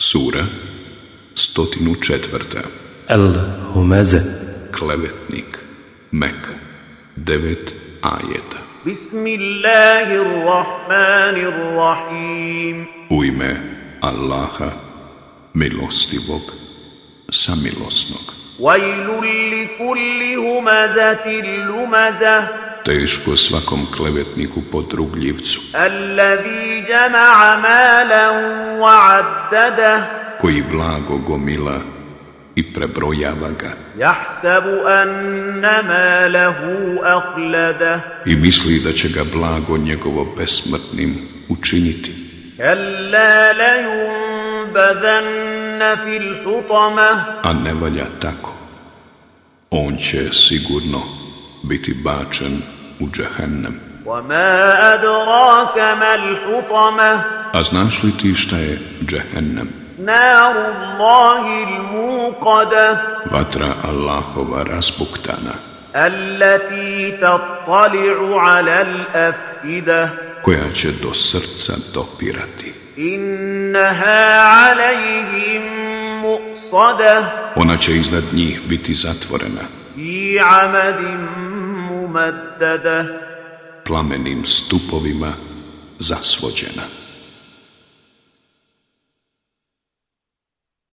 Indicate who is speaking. Speaker 1: Sura 104.
Speaker 2: El Humeze
Speaker 1: Klevetnik Mek 9 ajeta
Speaker 3: بسم الله الرحمن الرحيم
Speaker 1: U ime Allaha Milostivog Samilosnog
Speaker 3: ويل لكل همزة لمزة
Speaker 1: Teško svakom klevetniku podrugljivcu
Speaker 3: الذي جمع مالا وعدده
Speaker 1: koji blago gomila i prebrojava ga
Speaker 3: يحسب أن ماله أخلده
Speaker 1: i misli da će ga blago njegovo besmrtnim učiniti.
Speaker 3: كلا لينبذن في الحطمة
Speaker 1: a ne valja tako. On će sigurno biti bačen u džehennem.
Speaker 3: وما أدراك ما الحطمة
Speaker 1: A znaš li ti šta je džehennem?
Speaker 3: نار الله الموقده
Speaker 1: Vatra Allahova razbuktana,
Speaker 3: التي تطلع على الأفئدة
Speaker 1: koja će do srca dopirati.
Speaker 3: إنها عليهم مؤصدة
Speaker 1: Ona će iznad njih biti zatvorena,
Speaker 3: في عمد ممددة
Speaker 1: plamenim stupovima zasvođena.